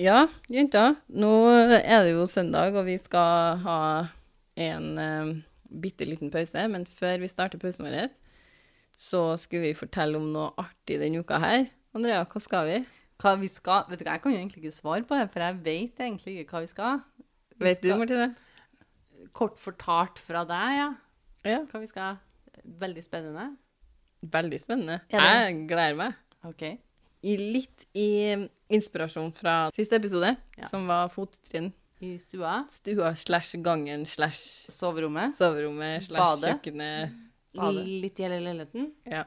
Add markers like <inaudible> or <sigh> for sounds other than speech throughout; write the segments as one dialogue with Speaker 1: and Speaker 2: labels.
Speaker 1: Ja, jenter. Nå er det jo søndag, og vi skal ha en eh, bitte liten pause. Men før vi starter pausen vår, så skulle vi fortelle om noe artig denne uka her. Andrea, hva skal vi?
Speaker 2: Hva vi skal Vet du hva, jeg kan jo egentlig ikke svare på det, for jeg vet egentlig ikke hva vi skal. Vi
Speaker 1: Vet du,
Speaker 2: skal-
Speaker 1: Martine?
Speaker 2: Kort fortalt fra deg, ja.
Speaker 1: Ja.
Speaker 2: Hva vi skal Veldig spennende.
Speaker 1: Veldig spennende.
Speaker 2: Ja,
Speaker 1: Jeg
Speaker 2: det.
Speaker 1: gleder meg.
Speaker 2: OK.
Speaker 1: I litt i eh, inspirasjon fra siste episode,
Speaker 2: Ja.
Speaker 1: som var fottrinn.
Speaker 2: I stua.
Speaker 1: Stua slash gangen slash
Speaker 2: Soverommet.
Speaker 1: soverommet slash
Speaker 2: Badet.
Speaker 1: kjøkkenet. Badet.
Speaker 2: Litt i hele leiligheten.
Speaker 1: Ja.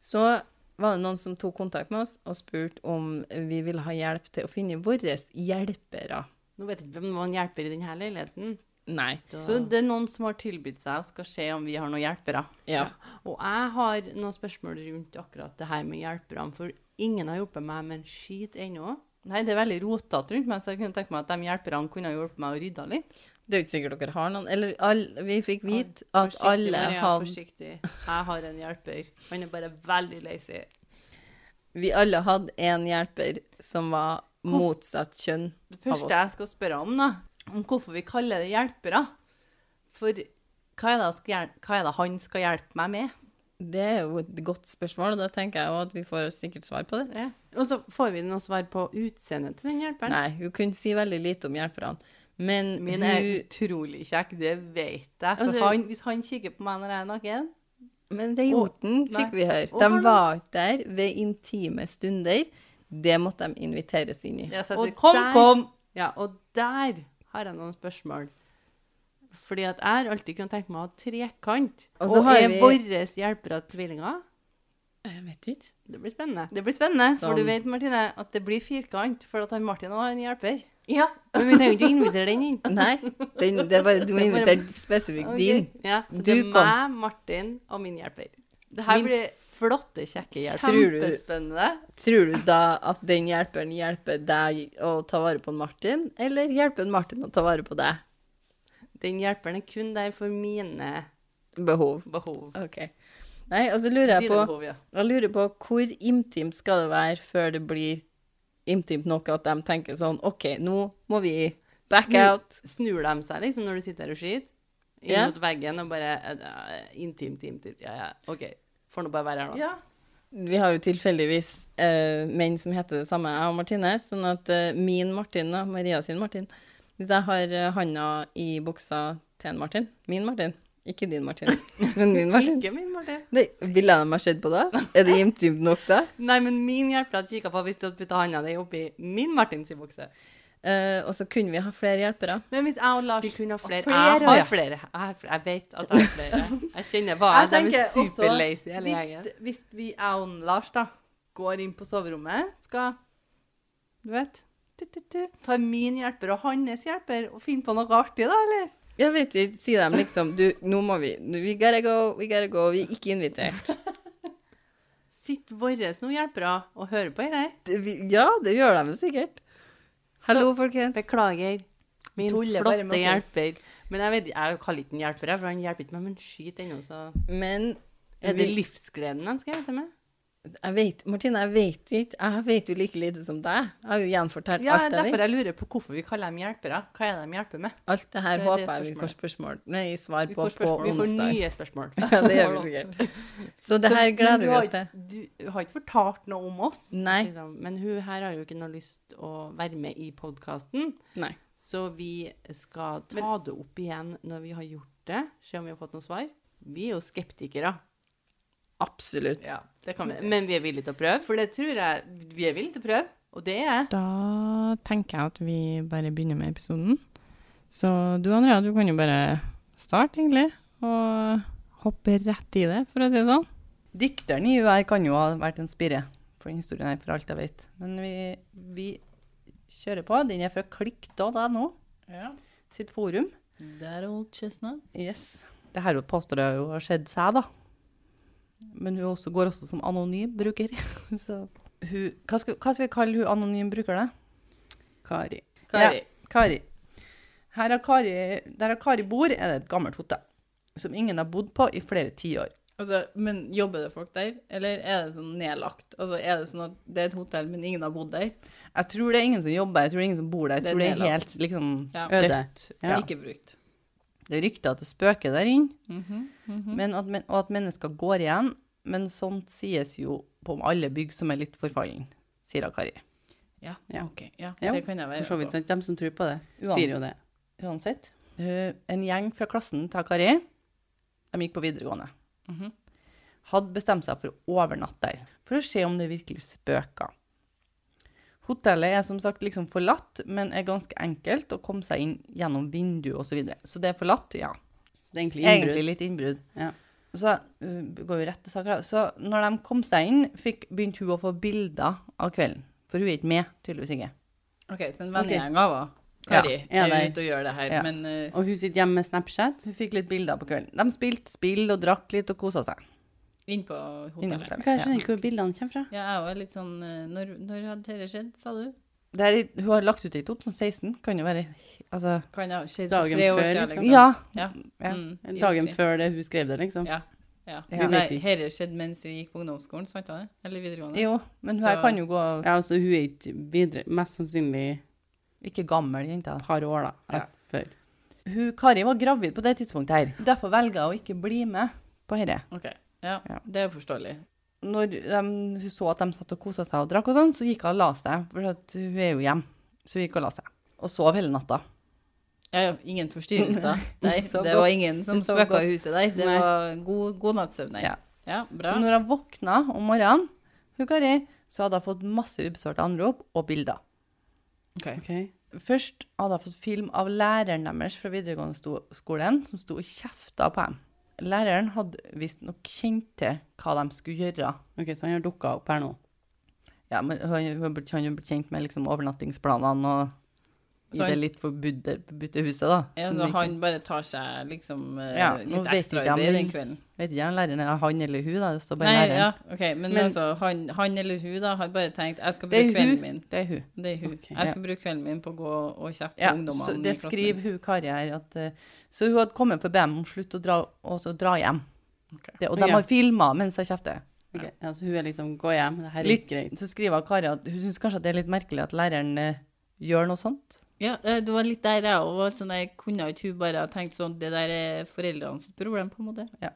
Speaker 1: Så var det noen som tok kontakt med oss og spurte om vi ville ha hjelp til å finne våre hjelpere.
Speaker 2: Nå vet jeg ikke hvem man hjelper i denne leiligheten.
Speaker 1: Nei.
Speaker 2: Så det er noen som har tilbudt seg og skal se om vi har noen hjelpere.
Speaker 1: Ja.
Speaker 2: Og jeg har noen spørsmål rundt akkurat det her med hjelperne, for ingen har hjulpet meg med en skit ennå. Nei, det er veldig rotete rundt meg, så jeg kunne tenke meg at de hjelperne kunne ha hjulpet meg å rydde litt.
Speaker 1: Det er jo ikke sikkert dere har noen. Eller all, vi fikk vite
Speaker 2: Oi,
Speaker 1: at
Speaker 2: forsiktig,
Speaker 1: alle
Speaker 2: Maria,
Speaker 1: hadde,
Speaker 2: Forsiktig. Jeg har en hjelper. Han er bare veldig lazy.
Speaker 1: vi alle hadde en hjelper som var motsatt kjønn av
Speaker 2: Det første
Speaker 1: oss.
Speaker 2: jeg skal spørre om, da, om hvorfor vi kaller det hjelpere. For hva er det, jeg skal hjel- hva er det han skal hjelpe meg med?
Speaker 1: Det er jo et godt spørsmål, og da tenker jeg jo at vi får sikkert svar på det.
Speaker 2: Ja. Og så får vi noe svar på utseendet til den hjelperen.
Speaker 1: Nei, hun kunne si veldig lite om hjelperne. Men
Speaker 2: Min
Speaker 1: hun,
Speaker 2: er utrolig kjekk, det vet jeg. For
Speaker 1: Altså-
Speaker 2: han, hvis han kikker på meg når jeg er naken
Speaker 1: Men det gjorde den,
Speaker 2: nei.
Speaker 1: fikk vi høre.
Speaker 2: Å,
Speaker 1: De
Speaker 2: har de-
Speaker 1: var ikke der ved intime stunder. Det måtte de inviteres inn i.
Speaker 2: ja, så jeg
Speaker 3: Og
Speaker 2: sier, kom,
Speaker 3: der-
Speaker 2: kom! Ja, og der har jeg noen spørsmål. Fordi at jeg har alltid kunnet tenke meg å ha trekant.
Speaker 1: Og
Speaker 2: Og,
Speaker 1: så har
Speaker 2: er
Speaker 1: vi-
Speaker 2: våre hjelpere tvillinger?
Speaker 1: Jeg vet ikke.
Speaker 2: Det blir spennende. Det blir spennende, for
Speaker 1: Sånn.
Speaker 2: du vet, Martine, at det blir firkant, for at han Martin har en hjelper.
Speaker 3: Ja.
Speaker 2: Men vi trenger ikke å invitere den inn.
Speaker 1: Nei, den, det er bare, du må
Speaker 2: Det er bare-
Speaker 1: invitere spesifikt <laughs>
Speaker 2: Ok.
Speaker 1: din.
Speaker 2: Ja,
Speaker 1: Du
Speaker 2: så det er
Speaker 1: kom.
Speaker 2: meg, Martin og min hjelper. Det her
Speaker 1: Min-
Speaker 2: blir flotte, kjekke hjelper.
Speaker 1: Tror du-
Speaker 2: Kjempespennende.
Speaker 1: Tror du da at den hjelperen hjelper deg å ta vare på Martin, eller hjelper Martin å ta vare på deg?
Speaker 2: Den hjelperen er kun der for mine
Speaker 1: Behov.
Speaker 2: behov.
Speaker 1: OK. Nei, og så lurer jeg
Speaker 2: Dine
Speaker 1: på,
Speaker 2: behov, ja.
Speaker 1: jeg lurer på hvor intimt skal det være før det blir intimt nok at de tenker sånn OK, nå må vi back
Speaker 2: Snu-
Speaker 1: out.
Speaker 2: Snur de seg liksom når du sitter her og skiter? Inn
Speaker 1: Ja.
Speaker 2: mot veggen og bare eh, Intimt, intimt. Ja, ja. OK. Får nå bare være her, da.
Speaker 1: Vi har jo tilfeldigvis eh, menn som heter det samme, jeg og Martine. Sånn at eh, min Martin, da, Maria sin Martin Hvis jeg har eh, handa i buksa til en Martin Min Martin, ikke din Martin, <laughs> men min Martin.
Speaker 2: Ikke min, Martin.
Speaker 1: Nei, Ville de ha sett på det? Er det intimt nok, da?
Speaker 2: Nei, men min hjelper hadde kikka på hvis du hadde putta handa di oppi min Martins bukse.
Speaker 1: <laughs> Eh, og så kunne vi ha flere hjelpere.
Speaker 2: Men hvis jeg og Lars Vi kunne ha flere.
Speaker 3: flere,
Speaker 2: jeg har
Speaker 3: ja.
Speaker 2: flere. Jeg, har flere. jeg vet at jeg har flere. Jeg kjenner hva
Speaker 3: Jeg
Speaker 2: jeg De
Speaker 3: tenker
Speaker 2: er
Speaker 3: også,
Speaker 2: superlazy, hele
Speaker 3: Hvis,
Speaker 2: gjengen.
Speaker 3: hvis vi, jeg og Lars, da,
Speaker 2: Går inn på soverommet, skal Du vet.
Speaker 3: tu, tu, tu, tar min hjelper og hans hjelper og finner på noe artig, da, eller?
Speaker 1: Jeg vet ikke, Sier dem liksom Du, nå må vi nå- We gotta go, we gotta go. Vi er ikke invitert.
Speaker 2: Sitter våre nå hjelpere og hører på dette?
Speaker 1: <laughs> Det, vi, ja, det gjør de sikkert. Hallo, folkens.
Speaker 2: Beklager. Min
Speaker 3: Tuller bare med
Speaker 2: flotte
Speaker 3: dere.
Speaker 2: hjelper. Men jeg, vet, jeg kaller ikke den hjelper, jeg, for han hjelper ikke meg med en skit ennå. Så
Speaker 1: Men
Speaker 2: er det
Speaker 1: vi-
Speaker 2: livsgleden de skal hjelpe med?
Speaker 1: Jeg vet, Martine, jeg vet ikke. Jeg vet jo like lite som deg. Jeg har jo gjenfortalt
Speaker 3: Ja,
Speaker 1: alt jeg
Speaker 3: derfor
Speaker 1: vet.
Speaker 3: jeg lurer på hvorfor vi kaller dem hjelpere. Hva er det de hjelper med?
Speaker 1: Alt det her
Speaker 3: Det er det
Speaker 1: håper jeg vi får spørsmål Nei, svar
Speaker 2: Vi
Speaker 1: på
Speaker 2: får, spørsmål.
Speaker 1: på
Speaker 2: vi får
Speaker 1: onsdag.
Speaker 2: nye
Speaker 3: <laughs>
Speaker 2: spørsmål.
Speaker 1: <laughs> Ja, det gjør vi sikkert. Så det
Speaker 3: Så-
Speaker 1: her
Speaker 3: men
Speaker 1: gleder
Speaker 3: du
Speaker 1: vi
Speaker 3: har
Speaker 1: oss til.
Speaker 3: ikke- Du har ikke fortalt noe om oss.
Speaker 1: Nei.
Speaker 2: Liksom. Men hun her har jo ikke noe lyst å være med i podkasten,
Speaker 1: Nei.
Speaker 2: så vi skal ta det opp igjen når vi har gjort det. Se om vi har fått noe svar. Vi er jo skeptikere,
Speaker 1: Absolutt.
Speaker 3: Ja, det kan vi si.
Speaker 2: men vi er villige til å prøve.
Speaker 3: For det tror jeg vi er villige til å prøve, og det er
Speaker 1: Da tenker jeg at vi bare begynner med episoden. Så du, Andrea, du kan jo bare starte, egentlig, og hoppe rett i det, for å si det sånn.
Speaker 3: Dikteren i UR kan jo ha vært en spire for den historien her, for alt jeg vet. Men vi, vi kjører på. Den er fra klikk.no sitt forum.
Speaker 1: Der old chestnut.
Speaker 3: Yes. Det her påstår jeg jo har skjedd seg, da. Men hun også går også som anonym bruker. <laughs> Så hun, hva, skal, hva skal vi kalle hun anonym bruker, da?
Speaker 2: Kari.
Speaker 1: Kari.
Speaker 3: Ja, Kari. Her har Kari. Der har Kari bor, er det et gammelt hotell som ingen har bodd på i flere tiår.
Speaker 1: Altså, men jobber det folk der, eller er det sånn nedlagt? Altså, er det sånn at det er et hotell, men ingen har bodd der?
Speaker 3: Jeg tror det er ingen som jobber, jeg tror det er ingen som bor der. Jeg
Speaker 1: Det er
Speaker 3: tror det er
Speaker 1: nedlagt.
Speaker 3: helt liksom
Speaker 1: Ja.
Speaker 3: øde. Ja.
Speaker 1: Ikke brukt.
Speaker 3: Det er rykter at det spøker der inne, men at men, og at mennesker går igjen. Men sånt sies jo på alle bygg som er litt forfallen, sier Kari.
Speaker 1: Ja,
Speaker 2: Ja.
Speaker 1: ok. Ja,
Speaker 2: Ja,
Speaker 1: det kan jeg være
Speaker 2: For så vidt,
Speaker 1: på.
Speaker 2: sant? De som tror på det,
Speaker 3: Uan-
Speaker 2: sier jo det.
Speaker 3: Uansett. eh, En gjeng fra klassen til Kari, de gikk på videregående,
Speaker 1: Mhm.
Speaker 3: hadde bestemt seg for å overnatte der, for å se om det virkelig spøka. Hotellet er som sagt liksom forlatt, men er ganske enkelt å komme seg inn gjennom vindu osv. Så, videre. så det er forlatt, ja.
Speaker 2: Så det er egentlig innbrudd.
Speaker 3: Egentlig litt innbrudd.
Speaker 2: Ja.
Speaker 3: Så uh, går vi rett til saker. da. Så når de kom seg inn, fikk, begynte hun å få bilder av kvelden. For hun er ikke med, tydeligvis ikke.
Speaker 1: Ok, så en vennegjeng av henne.
Speaker 3: Ja,
Speaker 1: Kari
Speaker 2: ja,
Speaker 1: er
Speaker 2: nei.
Speaker 1: ute og gjør det her,
Speaker 3: Ja.
Speaker 1: men eh,
Speaker 2: Og hun sitter hjemme med Snapchat.
Speaker 3: Så hun fikk litt bilder på kvelden. De spilte spill og drakk litt og kosa seg.
Speaker 1: inn på hotellet.
Speaker 2: Hva,
Speaker 3: Inne på
Speaker 2: jeg
Speaker 3: hotellet.
Speaker 2: skjønner ikke hvor bildene kommer fra.
Speaker 1: Ja, jeg er jo litt sånn eh, Når, når hadde dette skjedd, sa du?
Speaker 3: Det her i- hun har lagt ut i 2016. Kan jo være altså,
Speaker 1: Kan det ha skjedd for
Speaker 2: Dagen
Speaker 1: tre
Speaker 2: før,
Speaker 1: år siden,
Speaker 2: liksom.
Speaker 1: liksom?
Speaker 3: Ja.
Speaker 1: Ja.
Speaker 3: Ja.
Speaker 1: Mm,
Speaker 2: Dagen
Speaker 1: riktig.
Speaker 2: før det hun skrev det, liksom.
Speaker 1: Ja. ja.
Speaker 3: Vi
Speaker 1: ja.
Speaker 2: vet
Speaker 1: Nei,
Speaker 2: ikke.
Speaker 1: dette skjedde mens vi gikk på ungdomsskolen, sant? da? Eller videregående?
Speaker 3: Jo, men hun her
Speaker 1: Så-
Speaker 3: kan jo gå
Speaker 2: Ja, altså hun er ikke videre, mest sannsynlig et
Speaker 3: Ikke gammel jente. da.
Speaker 2: par år, da.
Speaker 3: Ja.
Speaker 2: Før.
Speaker 3: Hun, Kari var gravid på det tidspunktet her. Derfor velger hun å ikke bli med på dette.
Speaker 1: Ok, ja,
Speaker 3: Ja.
Speaker 1: det er forståelig.
Speaker 3: når de, hun så at de satt og kosa seg og drakk og sånn, så gikk hun og la seg. For at hun er jo hjemme. Så hun gikk og la seg. Og sov hele natta.
Speaker 1: Ja, ja, ingen
Speaker 3: <laughs>
Speaker 1: forstyrrelser. Nei,
Speaker 3: Så
Speaker 1: det
Speaker 3: godt.
Speaker 1: var ingen som
Speaker 3: Så
Speaker 1: spøka
Speaker 3: godt.
Speaker 1: i huset der. Det
Speaker 2: Nei.
Speaker 1: var god, god nattsøvn.
Speaker 3: Ja.
Speaker 1: Ja. ja, bra.
Speaker 3: Så når hun våkna om morgenen, hun Kari, så hadde hun fått masse ubesvarte anrop og bilder.
Speaker 1: Ok.
Speaker 2: Ok.
Speaker 3: Først hadde hun fått film av læreren deres fra videregående sto skolen, som sto og kjefta på dem. Læreren hadde visstnok kjent til hva de skulle gjøre.
Speaker 2: Ok, så han har dukka opp her nå.
Speaker 3: Ja, men hun hun har blitt hun har blitt kjent med liksom overnattingsplanene og i
Speaker 1: Så han-
Speaker 3: det litt forbudte forbudte huset, da.
Speaker 1: Ja,
Speaker 3: som
Speaker 1: så
Speaker 3: vi ikke-
Speaker 1: han bare tar seg liksom eh,
Speaker 3: Ja, nå
Speaker 1: litt
Speaker 3: vet
Speaker 1: ekstra
Speaker 3: ikke jeg,
Speaker 1: arbeid
Speaker 3: men-
Speaker 1: den kvelden?
Speaker 3: Vet ikke om læreren er han eller hun, da. Det står bare
Speaker 1: Nei,
Speaker 3: læreren.
Speaker 1: ja, ok, men,
Speaker 2: Men-
Speaker 1: altså, han, han eller hun da har bare tenkt 'jeg skal
Speaker 3: Det er
Speaker 1: bruke kvelden
Speaker 3: hun.
Speaker 1: min'.
Speaker 3: Det er hun.
Speaker 1: Det er hun.
Speaker 2: Ok,
Speaker 1: jeg skal bruke kvelden min på å gå og kjefte på
Speaker 3: Ja,
Speaker 1: ungdommene.
Speaker 3: så
Speaker 1: i
Speaker 3: det
Speaker 1: klassen
Speaker 3: skriver hun Kari her. At, eh, så hun hadde kommet på BM om slutt å dra, og så dra hjem.
Speaker 1: Ok.
Speaker 3: Det, og de
Speaker 2: Ok.
Speaker 3: har filma mens hun kjefter.
Speaker 2: Ok, altså hun er liksom Gå hjem, det her er
Speaker 3: Litt-
Speaker 2: ikke greit.
Speaker 3: Så skriver hun Kari at hun syns kanskje at det er litt merkelig at læreren eh, gjør noe sånt.
Speaker 1: Ja, eh, det var litt der jeg òg var sånn Jeg kunne ikke hun bare ha tenkt sånn Det der er foreldrenes problem, på en måte.
Speaker 3: Ja.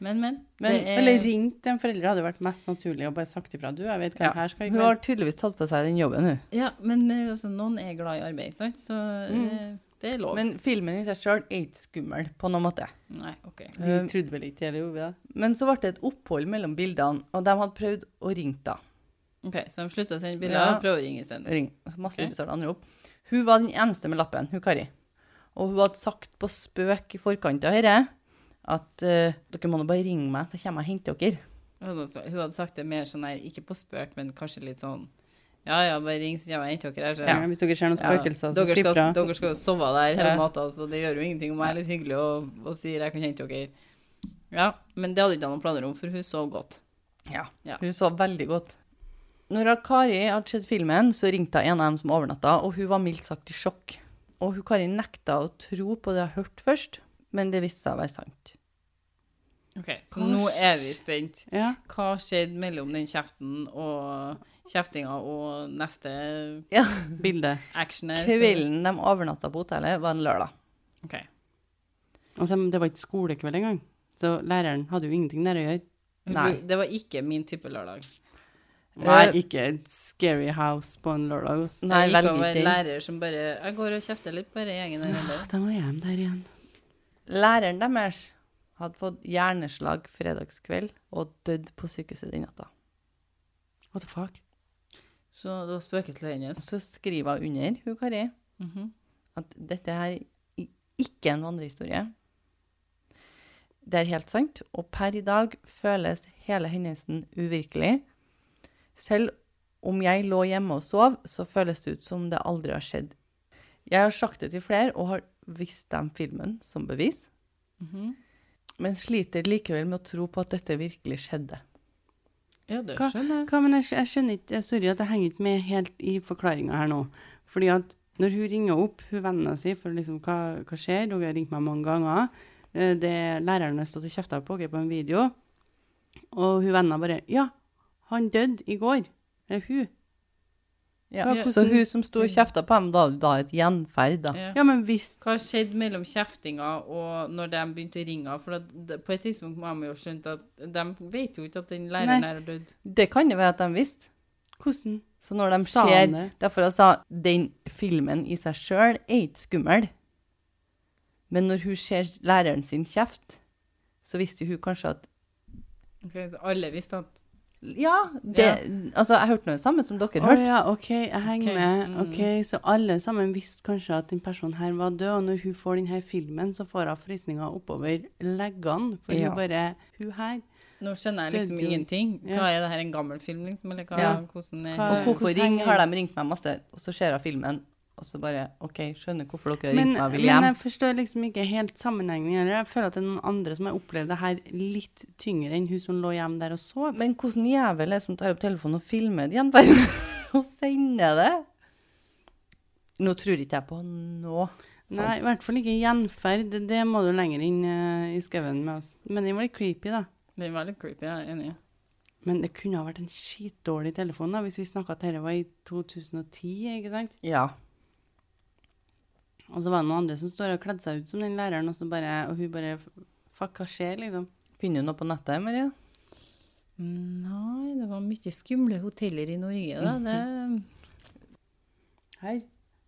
Speaker 1: Men, men.
Speaker 2: Men,
Speaker 1: det er-
Speaker 2: Eller ringt en forelder hadde vært mest naturlig og bare sagt ifra. Du, jeg vet hva
Speaker 3: Ja.
Speaker 2: det her skal i
Speaker 3: Hun
Speaker 2: kveld.
Speaker 3: har tydeligvis tatt på seg den jobben, hun.
Speaker 1: Ja, men eh, altså, noen er glad i arbeid, sant? så eh, det er lov.
Speaker 3: Mm. Men filmen i seg sjøl er ikke skummel på noen måte.
Speaker 1: Nei, ok.
Speaker 2: Vi trodde vel ikke det, eller gjorde vi det?
Speaker 3: Men så ble det et opphold mellom bildene, og de hadde prøvd å ringe da.
Speaker 1: Ok, Så de slutta å sende bilder
Speaker 3: Ja.
Speaker 1: og prøver å ringe isteden.
Speaker 3: Ring. Altså, Masse
Speaker 1: Ok.
Speaker 3: ubesvarte anrop. Hun var den eneste med lappen, hun Kari. Og hun hadde sagt på spøk i forkant av dette at eh, dere må nå bare ringe meg, så kommer jeg og henter dere.
Speaker 1: Hun hadde sa- hun hadde sagt det mer sånn her, ikke på spøk, men kanskje litt sånn Ja ja, bare ring, så kommer jeg og henter dere her. Så,
Speaker 2: Ja. Hvis dere ser noen
Speaker 1: Ja.
Speaker 2: spøkelser, så
Speaker 1: Dere
Speaker 2: si fra.
Speaker 1: skal, dere skal jo sove der hele
Speaker 3: Ja.
Speaker 1: natta, så det gjør jo ingenting om jeg er litt hyggelig og, og sier jeg kan hente dere. Ja, men det hadde ikke jeg noen planer om, for hun sov godt.
Speaker 3: Ja.
Speaker 1: Ja.
Speaker 3: Hun sov veldig godt. Når hun Kari hadde sett filmen, så ringte hun en av dem som overnatta, og hun var mildt sagt i sjokk. Og hun Kari nekta å tro på det hun hørte først, men det viste seg å være sant.
Speaker 1: Ok, Så
Speaker 3: Hva
Speaker 1: nå er vi spent.
Speaker 2: Ja.
Speaker 1: Hva skjedde mellom den kjeften og kjeftinga og neste
Speaker 2: Bilde.
Speaker 1: action her?
Speaker 3: Kvelden de overnatta på hotellet, var en lørdag.
Speaker 1: Ok.
Speaker 2: Og så, det var ikke skolekveld engang. Så læreren hadde jo ingenting der å gjøre.
Speaker 3: Nei.
Speaker 1: Det var ikke min type lørdag.
Speaker 2: Nei,
Speaker 3: Eh,
Speaker 2: ikke et scary house på en lørdag. ass.
Speaker 1: jeg
Speaker 3: Nei,
Speaker 1: gikk
Speaker 3: veldig
Speaker 1: over
Speaker 3: ikke.
Speaker 1: lærer som bare Jeg går og kjefter litt på denne gjengen her.
Speaker 2: Åh,
Speaker 1: inne.
Speaker 2: Da må jeg hjem der igjen.
Speaker 3: Læreren deres hadde fått hjerneslag fredagskveld og dødd på sykehuset den natta.
Speaker 2: What the fuck?
Speaker 1: Så det var spøkelset hennes.
Speaker 3: Så skriver hun under, hun Kari,
Speaker 1: Mhm.
Speaker 3: at dette her er ikke en vandrehistorie. Det er helt sant, og per i dag føles hele hendelsen uvirkelig. Selv om jeg lå hjemme og sov, så føles det ut som det aldri har skjedd. Jeg har sagt det til flere og har vist dem filmen som bevis,
Speaker 1: Mhm.
Speaker 3: men sliter likevel med å tro på at dette virkelig skjedde.
Speaker 1: Ja, det
Speaker 2: Hva-
Speaker 1: skjønner jeg.
Speaker 2: Hva, men jeg, skj- jeg skjønner ikke, jeg- sorry at jeg henger ikke med helt i forklaringa her nå. Fordi at når hun ringer opp, hun vennene si, for liksom, hva, hva skjer, hun har ringt meg mange ganger, eh, det læreren har stått og kjefta på, ok, på en video, Og hun venna bare Ja, han døde i går. Eller hun.
Speaker 3: Ja.
Speaker 2: Ja,
Speaker 3: Så
Speaker 2: hvordan-
Speaker 3: hun som sto og kjefta på dem, da hadde da et gjenferd, da.
Speaker 2: Ja, men hvis
Speaker 1: Hva skjedde mellom kjeftinga og når de begynte å ringe? henne? For at, det- på et tidspunkt må de jo ha skjønt at de vet jo ikke at den læreren
Speaker 2: Nei.
Speaker 1: her har dødd.
Speaker 3: Det kan jo være at de visste.
Speaker 2: Hvordan?
Speaker 3: Så når de
Speaker 2: Sa han
Speaker 3: ser
Speaker 2: det?
Speaker 3: Derfor jeg sa den filmen i seg sjøl er ikke skummel. Men når hun ser læreren sin kjeft, så visste hun kanskje at
Speaker 1: Ok, så alle visste at
Speaker 3: Ja, det Altså, jeg hørte noe samme som dere
Speaker 2: Å
Speaker 3: hørte.
Speaker 2: ja, OK, jeg henger
Speaker 1: Ok,
Speaker 2: med. Ok, Så alle sammen visste kanskje at den personen her var død, og når hun får denne filmen, så får hun frysninger oppover leggene, for
Speaker 3: Ja.
Speaker 2: hun bare Hun her.
Speaker 1: Nå skjønner jeg liksom
Speaker 2: Døde jo.
Speaker 1: ingenting.
Speaker 2: Ja.
Speaker 1: Hva er det her, en gammel film, liksom? Eller hva,
Speaker 2: Ja.
Speaker 1: hvordan er
Speaker 2: Hva-
Speaker 3: Og hvorfor
Speaker 2: Hvordan
Speaker 3: ring,
Speaker 2: henger-
Speaker 3: har de ringt meg masse? Og så ser jeg filmen, og så bare OK, skjønner hvorfor dere har
Speaker 2: Men,
Speaker 3: ringt meg, William.
Speaker 2: men jeg forstår liksom ikke helt sammenhengen i det. Jeg føler at det er noen andre som har opplevd det her litt tyngre enn hun som lå hjemme der og sov.
Speaker 3: Men hvordan jævel er det som tar opp telefonen og filmer et <laughs> gjenferd og sender det? Nå tror ikke jeg på noe. sånt.
Speaker 2: Nei, i hvert fall ikke gjenferd. Det- Det må du lenger inn eh, i skauen med oss. Men den var litt creepy, da.
Speaker 1: Den var litt creepy, jeg er enig.
Speaker 2: Men det kunne ha vært en skitdårlig telefon da, hvis vi snakka at dette var i 2010, ikke sant?
Speaker 3: Ja.
Speaker 2: Og så var det noen andre som står og kledde seg ut som den læreren, og, så bare, og hun bare Fuck, hva skjer, liksom?
Speaker 3: Finner du noe på nettet, Maria?
Speaker 1: Nei, det var mye skumle hoteller i Norge, da.
Speaker 4: Mhm.
Speaker 1: Det,
Speaker 2: Her.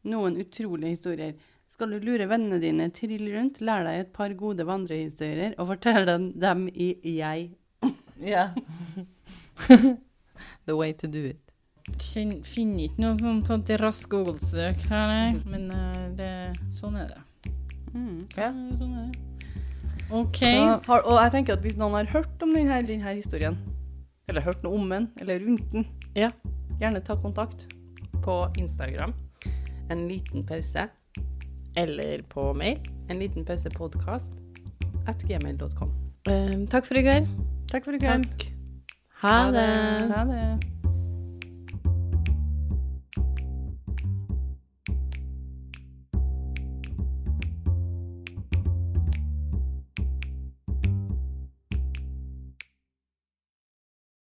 Speaker 2: Noen utrolige historier. Skal du lure vennene dine, trill rundt, lær deg et par gode vandrehistorier og fortell dem, dem i jeg.
Speaker 3: Ja. The way to do it.
Speaker 1: kjenn- finner ikke noe sånn på et raskt Google-søk her,
Speaker 4: Mhm.
Speaker 1: nei. Men eh, det, sånn er det.
Speaker 2: Mm.
Speaker 3: Ja.
Speaker 1: Sånn er det. OK.
Speaker 3: Så har- og jeg tenker at hvis noen har hørt om denne, denne historien, eller hørt noe om den, eller rundt den,
Speaker 4: Ja.
Speaker 3: gjerne ta kontakt.
Speaker 4: På Instagram. En liten pause. Eller på mail. En liten pause podcast. At gmail.com.
Speaker 1: Eh, takk for i kveld.
Speaker 3: Takk for i kveld.
Speaker 4: Ha det.
Speaker 3: Ha det.